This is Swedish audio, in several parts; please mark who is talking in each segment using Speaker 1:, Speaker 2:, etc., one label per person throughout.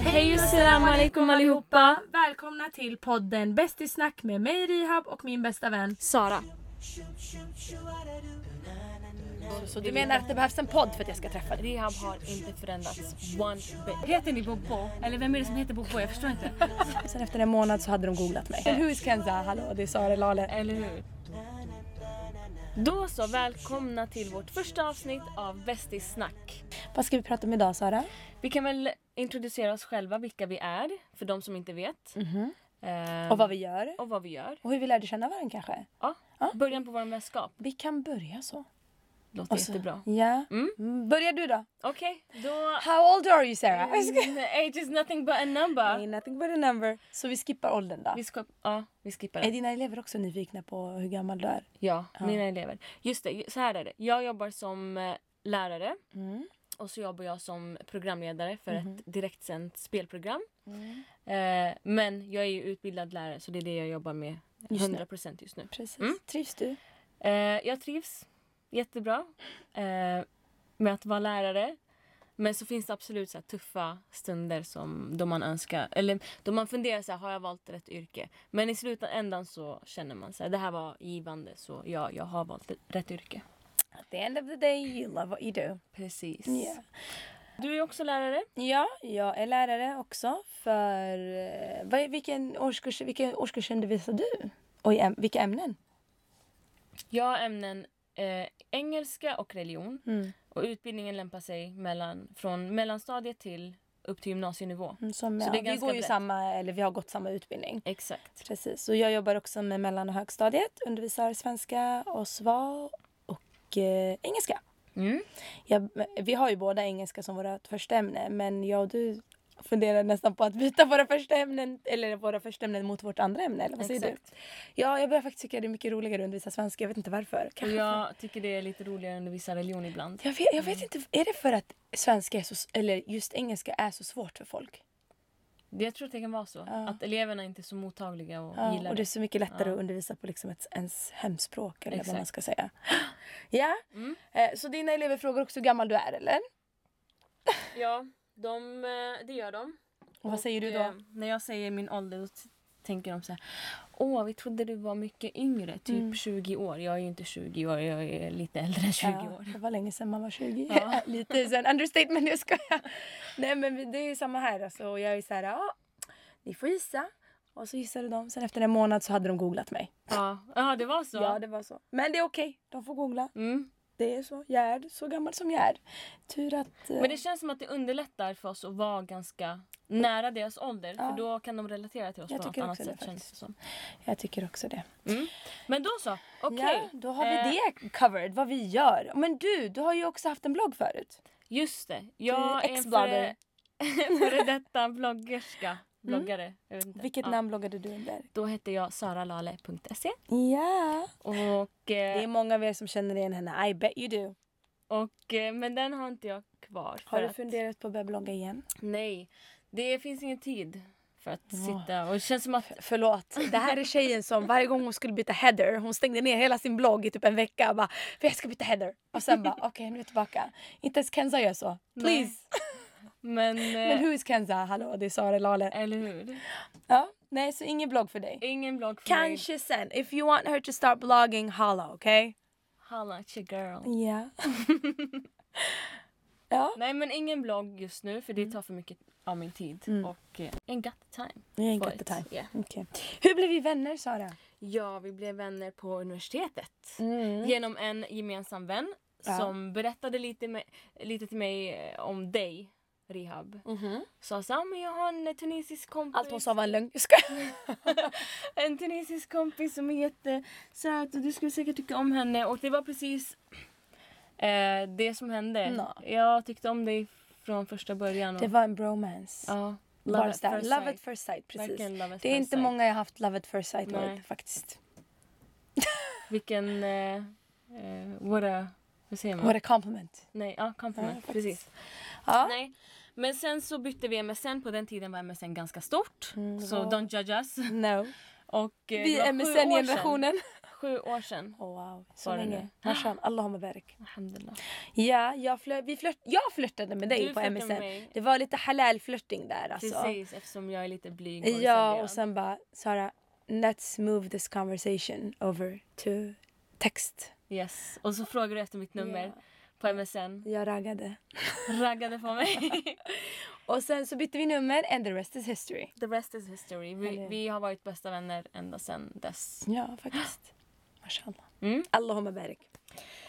Speaker 1: Hej och salam
Speaker 2: salam
Speaker 1: alaikum
Speaker 2: alaikum
Speaker 1: allihopa! Välkomna till podden Bäst i snack med mig Rihab och min bästa vän.
Speaker 2: Sara.
Speaker 3: Så du menar att det behövs en podd för att jag ska träffa dig?
Speaker 2: Rehab har inte förändrats one bit.
Speaker 4: Heter ni Bobo? Eller vem är det som heter Bobo? Jag förstår inte.
Speaker 3: Sen efter en månad så hade de googlat mig. Men who's Kenza? Hallå, det är Sara Lale.
Speaker 4: Eller hur?
Speaker 2: Då så, välkomna till vårt första avsnitt av Bäst i snack.
Speaker 3: Vad ska vi prata om idag Sara?
Speaker 2: Vi kan väl introducera oss själva, vilka vi är, för de som inte vet. Ehm,
Speaker 3: Och vad vi gör.
Speaker 2: och vad vi gör.
Speaker 3: Och hur vi lärde känna varandra kanske.
Speaker 2: Ja.
Speaker 3: Ja.
Speaker 2: Början på vår vänskap.
Speaker 3: Vi kan börja så.
Speaker 2: Låter
Speaker 3: Och så-
Speaker 2: jättebra.
Speaker 3: Ja.
Speaker 2: Mm.
Speaker 3: Mm. Börjar du då.
Speaker 2: Okej, då...
Speaker 3: How old are you Sarah?
Speaker 2: Mm, Age is nothing but a number.
Speaker 3: Ain't nothing but a number. Så vi skippar åldern då.
Speaker 2: Vi, ska, ja, vi skippar
Speaker 3: Är
Speaker 2: det.
Speaker 3: dina elever också nyfikna på hur gammal du är?
Speaker 2: Ja,
Speaker 3: Ja.
Speaker 2: mina elever. Just det, så här är det. Jag jobbar som eh, lärare
Speaker 3: Mm.
Speaker 2: och så jobbar jag som programledare för
Speaker 3: Mhm.
Speaker 2: ett direktsänt spelprogram.
Speaker 3: Mm.
Speaker 2: Eh, men jag är ju utbildad lärare så det är det jag jobbar med
Speaker 3: Just nu.
Speaker 2: 100% just nu.
Speaker 3: Precis.
Speaker 2: Mm.
Speaker 3: Trivs du?
Speaker 2: Eh, jag trivs jättebra eh, med att vara lärare. Men så finns det absolut så här tuffa stunder som då man önskar, eller då man funderar så här, har jag valt rätt yrke? Men i slutändan så känner man så här, det här var givande så ja, jag har valt rätt yrke.
Speaker 3: At the end of the day you love what you do.
Speaker 2: Precis.
Speaker 3: Yeah.
Speaker 2: Du är också lärare.
Speaker 3: Ja, jag är lärare också. För, eh, vad, är- vilken, årskurs, vilken årskurs undervisar du? Och i äm, vilka ämnen?
Speaker 2: Jag har ämnen eh, engelska och religion.
Speaker 3: Mm.
Speaker 2: Och utbildningen lämpar sig mellan, från mellanstadiet till upp till gymnasienivå.
Speaker 3: Som,
Speaker 2: Så
Speaker 3: ja,
Speaker 2: det är
Speaker 3: vi
Speaker 2: ganska
Speaker 3: går ju
Speaker 2: brett.
Speaker 3: samma, eller vi har gått samma utbildning.
Speaker 2: Exakt.
Speaker 3: Precis. Och jag jobbar också med mellan och högstadiet. Undervisar svenska och sva och eh, engelska.
Speaker 2: Mm.
Speaker 3: Jag, vi har ju båda engelska som vårt första ämne men jag och du funderar nästan på att byta våra första ämnen, eller våra första ämnen mot vårt andra ämne. Eller vad säger du?
Speaker 2: Exakt.
Speaker 3: Ja, jag börjar faktiskt tycka det är mycket roligare att undervisa svenska. Jag vet inte varför.
Speaker 2: Och
Speaker 3: Kanske för-
Speaker 2: jag tycker det är lite roligare att undervisa religion ibland.
Speaker 3: Jag vet, jag vet inte, är det för att svenska är så, eller just engelska är så svårt för folk?
Speaker 2: Jag tror att det kan vara så. Att eleverna inte är så mottagliga och
Speaker 3: Ja,
Speaker 2: gillar
Speaker 3: och det är
Speaker 2: det.
Speaker 3: så mycket lättare att undervisa på liksom ett, ens hemspråk eller vad man
Speaker 2: Exakt. Mm.
Speaker 3: ska säga. Ja, Eh, så dina elever frågar också hur gammal du är eller?
Speaker 2: Ja, de, eh, det gör de.
Speaker 3: Och vad säger du
Speaker 2: Och, eh,
Speaker 3: då?
Speaker 2: När jag säger min ålder då t- tänker de så här. Åh, vi trodde du var mycket yngre. Typ
Speaker 3: Mm.
Speaker 2: 20 år. Jag är ju inte 20 år, jag är lite äldre än 20
Speaker 3: Ja,
Speaker 2: år.
Speaker 3: det var länge sedan man var 20.
Speaker 2: Ja.
Speaker 3: Lite sen understatement, jag skojar. Nej men vi- det är ju samma här alltså. Och jag är så här, ja, ni får gissa. Och så gissade de. Sen efter en månad så hade de googlat mig.
Speaker 2: Ja, ja det var så?
Speaker 3: Ja, det var så. Men det är okej, de får googla.
Speaker 2: Mm.
Speaker 3: Det är så. Jag är så gammal som jag är. Tur att... eh,
Speaker 2: Men det känns som att det underlättar för oss att vara ganska nära deras ålder. För då kan de relatera till oss
Speaker 3: Jag
Speaker 2: på något
Speaker 3: tycker
Speaker 2: annat
Speaker 3: också det
Speaker 2: sätt. känns det som.
Speaker 3: eh, Jag tycker också det.
Speaker 2: Mm. Men då så. Okej.
Speaker 3: Ja, då har vi
Speaker 2: Eh,
Speaker 3: det covered, vad vi gör. Men du, du har ju också haft en blogg förut.
Speaker 2: Just det.
Speaker 3: är
Speaker 2: Jag är en
Speaker 3: Typ ex-blogger.
Speaker 2: före, före detta bloggerska. Bloggare. Jag vet inte.
Speaker 3: Vilket
Speaker 2: Ja.
Speaker 3: namn bloggade du under?
Speaker 2: Då hette jag saralale.se.
Speaker 3: Ja.
Speaker 2: Och,
Speaker 3: Det är
Speaker 2: eh,
Speaker 3: många av er som känner igen henne. I bet you do.
Speaker 2: och, eh, men den har inte jag kvar.
Speaker 3: Har
Speaker 2: för
Speaker 3: du
Speaker 2: att-
Speaker 3: funderat på att börja blogga igen?
Speaker 2: Nej. Det finns ingen tid för att sitta. Och det känns som att
Speaker 3: Förlåt. Det här är tjejen som varje gång hon skulle byta header, hon stängde ner hela sin blogg i typ en vecka och bara för jag ska byta header. Och sen bara okej nu är jag tillbaka. Inte ens Kenza gör så. Please.
Speaker 2: Men, eh,
Speaker 3: Men who is Kenza? Hallå det är Sara Lale.
Speaker 2: Eller hur?
Speaker 3: Ja, nej så ingen blogg för dig.
Speaker 2: Ingen blogg för mig.
Speaker 3: Kanske sen. If you want her to start blogging, holla okej?
Speaker 2: Holla at your girl.
Speaker 3: Ja. ja.
Speaker 2: Nej men ingen blogg just nu för det
Speaker 3: Mm.
Speaker 2: tar för mycket av min tid. Och eh, ain't got the time.
Speaker 3: Jag
Speaker 2: for
Speaker 3: ain't got
Speaker 2: it.
Speaker 3: the Mm. time.
Speaker 2: Yeah.
Speaker 3: Okej. Hur blev vi vänner Sara?
Speaker 2: Ja, vi blev vänner på universitetet.
Speaker 3: Mm.
Speaker 2: Genom en gemensam vän
Speaker 3: Ja.
Speaker 2: som berättade lite, med, lite till mig eh, om dig, Rihab.
Speaker 3: Mm-hmm.
Speaker 2: Sa så här, "Ah, men jag har en tunisisk kompis.
Speaker 3: Allt hon sa var en lögn. Jag skojar.
Speaker 2: en tunisisk kompis som är jättesöt och du skulle säkert tycka om henne. Och det var precis eh, det som hände.
Speaker 3: Nå.
Speaker 2: Jag tyckte om dig från första början. Och,
Speaker 3: Det var en bromance.
Speaker 2: ja,
Speaker 3: Bara
Speaker 2: at
Speaker 3: sådär.
Speaker 2: first
Speaker 3: Love
Speaker 2: sight.
Speaker 3: at first sight. Precis.
Speaker 2: Verkligen love at
Speaker 3: Det är
Speaker 2: first
Speaker 3: inte
Speaker 2: sight.
Speaker 3: många jag haft love at first sight
Speaker 2: Nej.
Speaker 3: med faktiskt.
Speaker 2: Vilken... Eh, eh, what a... Hur säger man?
Speaker 3: What a compliment.
Speaker 2: Nej, ja,
Speaker 3: Ja,
Speaker 2: compliment.
Speaker 3: faktiskt.
Speaker 2: precis.
Speaker 3: Ja.
Speaker 2: Nej. Men sen så bytte vi MSN. På den tiden var MSN ganska stort.
Speaker 3: Mm, det
Speaker 2: så
Speaker 3: var-
Speaker 2: don't judge us.
Speaker 3: No.
Speaker 2: Och, eh,
Speaker 3: Vi
Speaker 2: det var
Speaker 3: är
Speaker 2: sju år sedan.
Speaker 3: MSN-generationen.
Speaker 2: sju år sedan.
Speaker 3: Oh, wow. Så
Speaker 2: Var det
Speaker 3: länge.
Speaker 2: det?
Speaker 3: Mashan, Allahumma barik.
Speaker 2: Alhamdulillah.
Speaker 3: Ja, jag, flör, vi flört, jag flörtade med dig
Speaker 2: Du
Speaker 3: på
Speaker 2: flörtade med
Speaker 3: MSN.
Speaker 2: mig.
Speaker 3: Det var lite halal-flörting där alltså.
Speaker 2: Precis, eftersom jag är lite blyg och
Speaker 3: Ja,
Speaker 2: reserverad.
Speaker 3: och sen bara Sara, let's move this conversation over to text.
Speaker 2: Yes. Och så frågade du efter mitt nummer
Speaker 3: Ja.
Speaker 2: på MSN.
Speaker 3: Jag raggade.
Speaker 2: Raggade på mig.
Speaker 3: Och sen så bytte vi nummer and the rest is history.
Speaker 2: The rest is history. Vi,
Speaker 3: Eller-
Speaker 2: vi har varit bästa vänner ända sedan dess.
Speaker 3: Ja, faktiskt. Mashallah.
Speaker 2: Mm.
Speaker 3: Allahumma barik.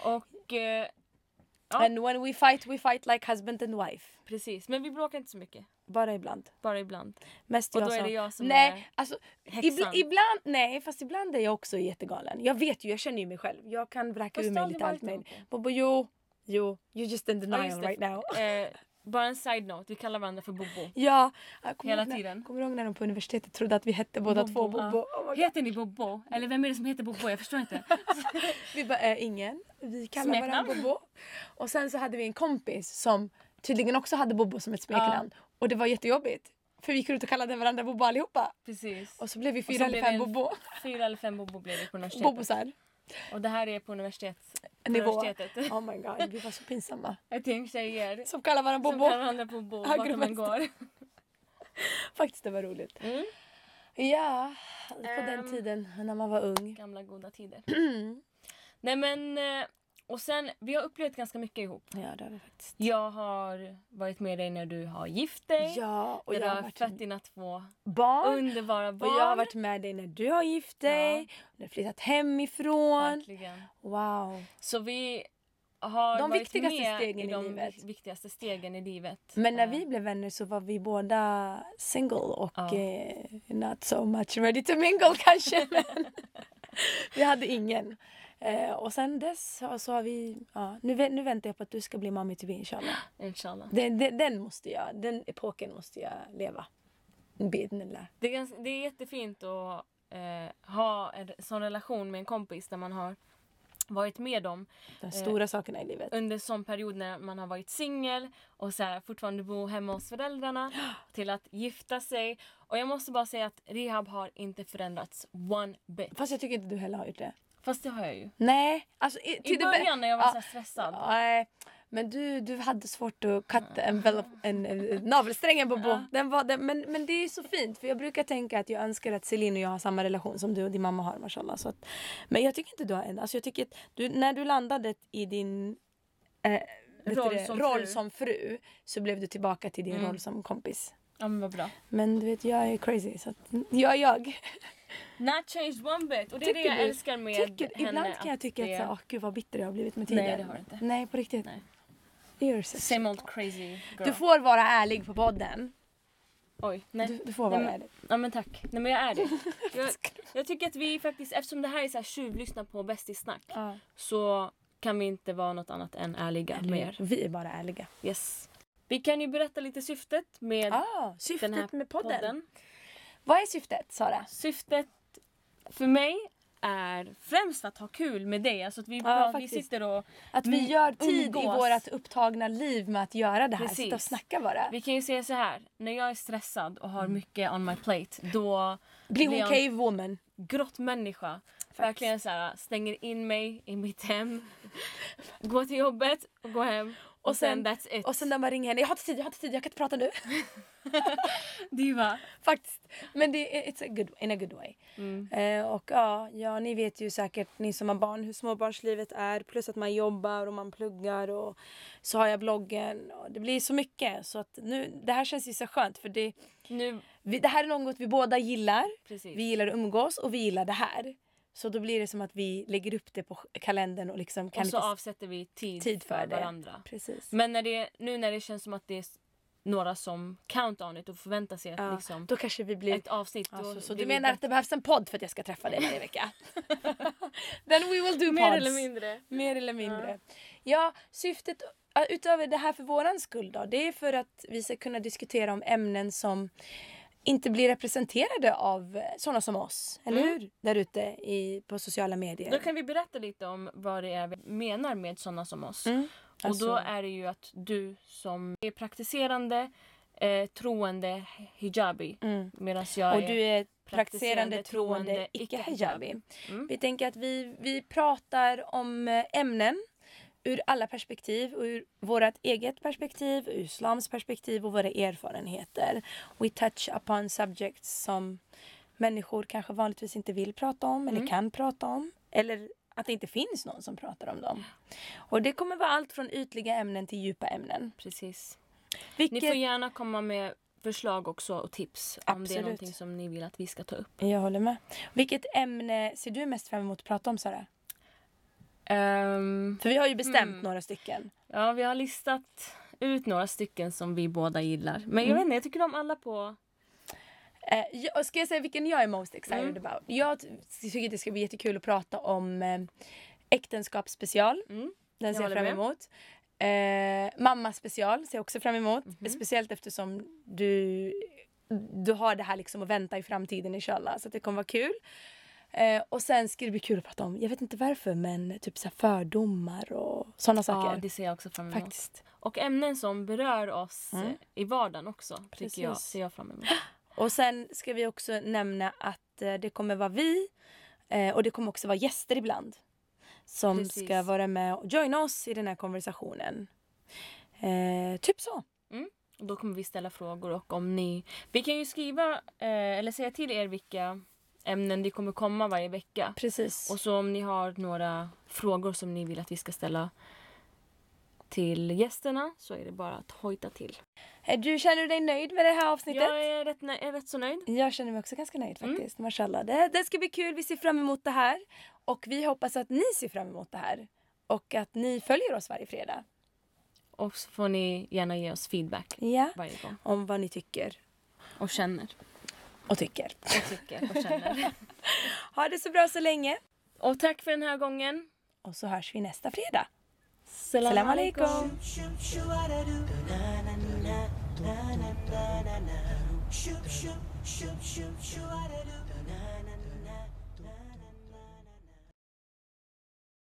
Speaker 2: Och eh, Ja.
Speaker 3: And when we fight, we fight like husband and wife.
Speaker 2: precis, men vi bråkar inte så mycket.
Speaker 3: Bara ibland.
Speaker 2: Bara ibland.
Speaker 3: Mest
Speaker 2: Och
Speaker 3: jag
Speaker 2: då är
Speaker 3: som...
Speaker 2: det jag som
Speaker 3: nej,
Speaker 2: är
Speaker 3: alltså,
Speaker 2: häxan.
Speaker 3: ibl- ibland, nej, fast ibland är jag också jättegalen. Jag vet ju, jag känner ju mig själv. Jag kan vräka
Speaker 2: Fast
Speaker 3: ur
Speaker 2: du
Speaker 3: mig
Speaker 2: har
Speaker 3: lite
Speaker 2: aldrig
Speaker 3: allt
Speaker 2: varit
Speaker 3: möjligt.
Speaker 2: det.
Speaker 3: Bobo, jo, jo. You're just in
Speaker 2: Ja,
Speaker 3: denial
Speaker 2: just det.
Speaker 3: right now.
Speaker 2: Eh, bara en side note, vi kallar varandra för Bobo.
Speaker 3: Ja, jag kommer
Speaker 2: Hela
Speaker 3: ihåg när-
Speaker 2: tiden.
Speaker 3: Kommer du ihåg när de på universitetet trodde att vi hette båda två
Speaker 2: Bobo, ja.
Speaker 3: Bobo? Oh my God.
Speaker 4: Heter ni Bobo? Eller vem är det som heter Bobo? Jag förstår inte.
Speaker 3: Vi bara, äh, ingen. Vi kallar
Speaker 2: Smeknamn.
Speaker 3: varandra Bobo. Och sen så hade vi en kompis som tydligen också hade Bobo som ett smeknamn. Och det var jättejobbigt. För vi gick ut och kallade varandra Bobo allihopa.
Speaker 2: Precis.
Speaker 3: Och så blev vi
Speaker 2: så
Speaker 3: fyra eller
Speaker 2: blev
Speaker 3: fem
Speaker 2: vi en-
Speaker 3: Bobo.
Speaker 2: Fyra eller fem Bobo blev det på universitetet.
Speaker 3: Bobosar.
Speaker 2: Och det här är på universitet,
Speaker 3: Nivå.
Speaker 2: universitetet.
Speaker 3: Oh my god, vi var så pinsamma.
Speaker 2: Ett gäng tjejer
Speaker 3: Som kallar varandra
Speaker 2: som
Speaker 3: Bobo.
Speaker 2: kallar varandra Bobo
Speaker 3: Höger
Speaker 2: vart
Speaker 3: och
Speaker 2: de än går.
Speaker 3: Faktiskt, det var roligt.
Speaker 2: Mm.
Speaker 3: Ja, på den
Speaker 2: Ehm.
Speaker 3: tiden när man var ung.
Speaker 2: Gamla goda tider. Nej men, eh, och sen, vi har upplevt ganska mycket ihop.
Speaker 3: Ja, det var faktiskt.
Speaker 2: Jag har varit med dig när du har gift dig.
Speaker 3: Ja, och
Speaker 2: jag,
Speaker 3: jag har
Speaker 2: har fött
Speaker 3: varit
Speaker 2: dina två
Speaker 3: barn.
Speaker 2: underbara barn.
Speaker 3: Och jag har varit med dig när du har gift dig, när du flyttat hemifrån.
Speaker 2: Verkligen.
Speaker 3: Wow.
Speaker 2: Så vi har
Speaker 3: De
Speaker 2: varit
Speaker 3: viktigaste
Speaker 2: med
Speaker 3: stegen
Speaker 2: i
Speaker 3: i
Speaker 2: de
Speaker 3: livet.
Speaker 2: vik- viktigaste stegen i livet.
Speaker 3: Men när
Speaker 2: Eh,
Speaker 3: vi blev vänner så var vi båda single och
Speaker 2: Ja.
Speaker 3: eh, not so much ready to mingle kanske. Men vi hade ingen. Eh, och sen dess har- så har vi... Ja, nu, vä- nu väntar jag på att du ska bli mommy to be inshallah.
Speaker 2: Eh, Inshallah.
Speaker 3: Den, den, den måste jag, den epoken måste jag leva. Bidnillah.
Speaker 2: Det är, ganska, det är jättefint att eh, ha en re- sån relation med en kompis där man har varit med dem
Speaker 3: De stora sakerna i livet.
Speaker 2: under sån period när man har varit singel och så här, fortfarande bo hemma hos föräldrarna till att gifta sig. Och jag måste bara säga att rehab har inte förändrats one bit.
Speaker 3: Fast jag tycker inte du heller har gjort det.
Speaker 2: Fast det har jag ju.
Speaker 3: Nej, alltså... I,
Speaker 2: I
Speaker 3: till det Ah. bä-
Speaker 2: början när jag var
Speaker 3: Ja.
Speaker 2: så här stressad.
Speaker 3: Nej, men du, du hade svårt att cut envelope, en, en, navelsträngen på bo. Den var, den, men, men det är så fint för jag brukar tänka att jag önskar att Celine och jag har samma relation som du och din mamma har mashallah. Så att, men jag tycker inte du har en. Alltså jag tycker att du, när du landade i din eh, vet du
Speaker 2: Roll
Speaker 3: det,
Speaker 2: som
Speaker 3: roll
Speaker 2: fru. Mm.
Speaker 3: som fru så blev du tillbaka till din roll som kompis.
Speaker 2: Ja men vad bra.
Speaker 3: Men du vet jag är crazy så att, jag är jag.
Speaker 2: Not changed one bit. Och det är det
Speaker 3: Tycker
Speaker 2: jag
Speaker 3: du?
Speaker 2: älskar med
Speaker 3: Tycker,
Speaker 2: henne.
Speaker 3: ibland kan jag tycka att,
Speaker 2: det
Speaker 3: så, åh, gud vad bitter jag har blivit med tiden.
Speaker 2: Nej, det har du inte.
Speaker 3: Nej på riktigt.
Speaker 2: Nej.
Speaker 3: You're so
Speaker 2: Same old crazy girl.
Speaker 3: Du får vara ärlig på podden.
Speaker 2: Oj, nej.
Speaker 3: Du, du får vara
Speaker 2: Nej, men-
Speaker 3: ärlig.
Speaker 2: Ja men tack. Nej men jag är det. Jag, jag tycker att vi faktiskt, eftersom det här är så här tjuvlyssna på Bästisnack
Speaker 3: Ja.
Speaker 2: så kan vi inte vara något annat än ärliga med er.
Speaker 3: Vi är bara ärliga.
Speaker 2: Yes. Vi kan ju berätta lite syftet med
Speaker 3: Ah,
Speaker 2: den här
Speaker 3: syftet med podden.
Speaker 2: podden.
Speaker 3: Vad är syftet, Sara?
Speaker 2: Syftet för mig är främst att ha kul med dig. Alltså att vi, pratar, vi
Speaker 3: faktiskt.
Speaker 2: sitter och...
Speaker 3: Att vi
Speaker 2: Mm,
Speaker 3: gör tid i
Speaker 2: umgås.
Speaker 3: vårt upptagna liv med att göra det här.
Speaker 2: Precis.
Speaker 3: Sitta och snacka bara.
Speaker 2: Vi kan ju säga så här. När jag är stressad och har mycket on my plate då
Speaker 3: Bli hon
Speaker 2: Leon-
Speaker 3: cave woman.
Speaker 2: grottmänniska. Verkligen så här, stänger in mig i mitt hem. Går till jobbet och går hem. Och, sen, that's it.
Speaker 3: Och sen när man ringer henne, jag har inte tid, jag har inte tid, jag kan inte prata nu.
Speaker 2: diva.
Speaker 3: Faktiskt. Men det är it's a good, in a good way.
Speaker 2: Mm.
Speaker 3: Eh, och ja, ja, ni vet ju säkert ni som har barn hur småbarnslivet är. Plus att man jobbar och man pluggar och så har jag bloggen. Och det blir så mycket. Så att nu, det här känns ju så skönt för det,
Speaker 2: Nu,
Speaker 3: vi, det här är något vi båda gillar.
Speaker 2: precis.
Speaker 3: Vi gillar att umgås och vi gillar det här. Så då blir det som att vi lägger upp det på kalendern och liksom kan
Speaker 2: och så
Speaker 3: inte...
Speaker 2: avsätter vi tid,
Speaker 3: Tid för
Speaker 2: för
Speaker 3: det.
Speaker 2: varandra.
Speaker 3: Precis.
Speaker 2: Men när det, nu när det känns som att det är s- några som count on it och förväntar sig att
Speaker 3: Ja,
Speaker 2: liksom,
Speaker 3: Då kanske vi blir...
Speaker 2: ett avsnitt. då
Speaker 3: Alltså, så
Speaker 2: blir
Speaker 3: du
Speaker 2: vi
Speaker 3: menar att
Speaker 2: bättre.
Speaker 3: det behövs en podd för att jag ska träffa dig varje vecka? Then we will do
Speaker 2: mer
Speaker 3: pods.
Speaker 2: eller mindre?
Speaker 3: Mer eller mindre. Ja, syftet ja, utöver det här för våran skull då, det är för att vi ska kunna diskutera om ämnen som inte blir representerade av eh, såna som oss, eller hur? Där ute i- på sociala medier.
Speaker 2: Då kan vi berätta lite om vad det är vi menar med sådana som oss.
Speaker 3: Mm.
Speaker 2: Och då
Speaker 3: Alltså-
Speaker 2: är det ju att du som är praktiserande eh, troende hijabi.
Speaker 3: Mm.
Speaker 2: Medan jag
Speaker 3: Och
Speaker 2: är...
Speaker 3: du är praktiserande troende icke-hijabi.
Speaker 2: Mm.
Speaker 3: Vi tänker att vi, vi pratar om eh, ämnen ur alla perspektiv. och Ur vårt eget perspektiv, ur islams perspektiv och våra erfarenheter. We touch upon subjects som människor kanske vanligtvis inte vill prata om eller kan prata om. Eller att det inte finns någon som pratar om dem. Och det kommer vara allt från ytliga ämnen till djupa ämnen.
Speaker 2: Precis. Ni
Speaker 3: Vilket...
Speaker 2: får gärna komma med förslag också och tips om det är
Speaker 3: Absolut.
Speaker 2: någonting som ni vill att vi ska ta upp.
Speaker 3: Jag håller med. Vilket ämne ser du mest fram emot att prata om Sara?
Speaker 2: Ehm,
Speaker 3: För vi har ju bestämt
Speaker 2: Mm.
Speaker 3: några stycken.
Speaker 2: ja, vi har listat ut några stycken som vi båda gillar. Men jag vet inte, jag tycker om alla på...
Speaker 3: Eh, jag, ska jag säga vilken jag är most excited
Speaker 2: Mm.
Speaker 3: about? Jag t- tycker det ska bli jättekul att prata om eh, äktenskapsspecial.
Speaker 2: Mm.
Speaker 3: Den
Speaker 2: Jag
Speaker 3: ser jag
Speaker 2: håller
Speaker 3: fram
Speaker 2: med.
Speaker 3: emot. Eh, mammaspecial ser jag också fram emot.
Speaker 2: Mhm.
Speaker 3: Speciellt eftersom du, du har det här liksom att vänta i framtiden inshallah. Så att det kommer vara kul. Eh, och sen ska det bli kul att prata om, jag vet inte varför, men typ så här fördomar och sådana
Speaker 2: Ja,
Speaker 3: saker.
Speaker 2: det ser jag också fram emot.
Speaker 3: Faktiskt.
Speaker 2: Och ämnen som berör oss
Speaker 3: Mm.
Speaker 2: eh, i vardagen också,
Speaker 3: Precis.
Speaker 2: tycker jag, ser jag fram emot.
Speaker 3: Och sen ska vi också nämna att eh, det kommer vara vi eh, och det kommer också vara gäster ibland som
Speaker 2: Precis.
Speaker 3: ska vara med och joina oss i den här konversationen. Eh, typ så.
Speaker 2: Och då kommer vi ställa frågor och om ni... Vi kan ju skriva, eh, eller säga till er vilka ämnen det kommer komma varje vecka.
Speaker 3: Precis.
Speaker 2: Och så om ni har några frågor som ni vill att vi ska ställa till gästerna så är det bara att hojta till.
Speaker 3: Eh, Du känner dig nöjd med det här avsnittet?
Speaker 2: Jag är Mm. rätt, nö- är rätt så nöjd.
Speaker 3: Jag känner mig också ganska nöjd faktiskt. Mashallah. Det, det ska bli kul. Vi ser fram emot det här. Och vi hoppas att ni ser fram emot det här. Och att ni följer oss varje fredag.
Speaker 2: Och så får ni gärna ge oss feedback
Speaker 3: Ja.
Speaker 2: varje gång.
Speaker 3: Om vad ni tycker
Speaker 2: Och känner.
Speaker 3: och tycker.
Speaker 2: Och tycker och känner.
Speaker 3: Ha det så bra så länge.
Speaker 2: och tack för den här gången.
Speaker 3: Och så hörs vi nästa fredag.
Speaker 2: Salam,
Speaker 3: Salam alaikum.
Speaker 5: Shoop, shoop, da-da-doo. Na-na-na-na, na-na-na-na-na. Shoop, shoop, shoop, shoop, shoo-a-da-doo. Na-na-na.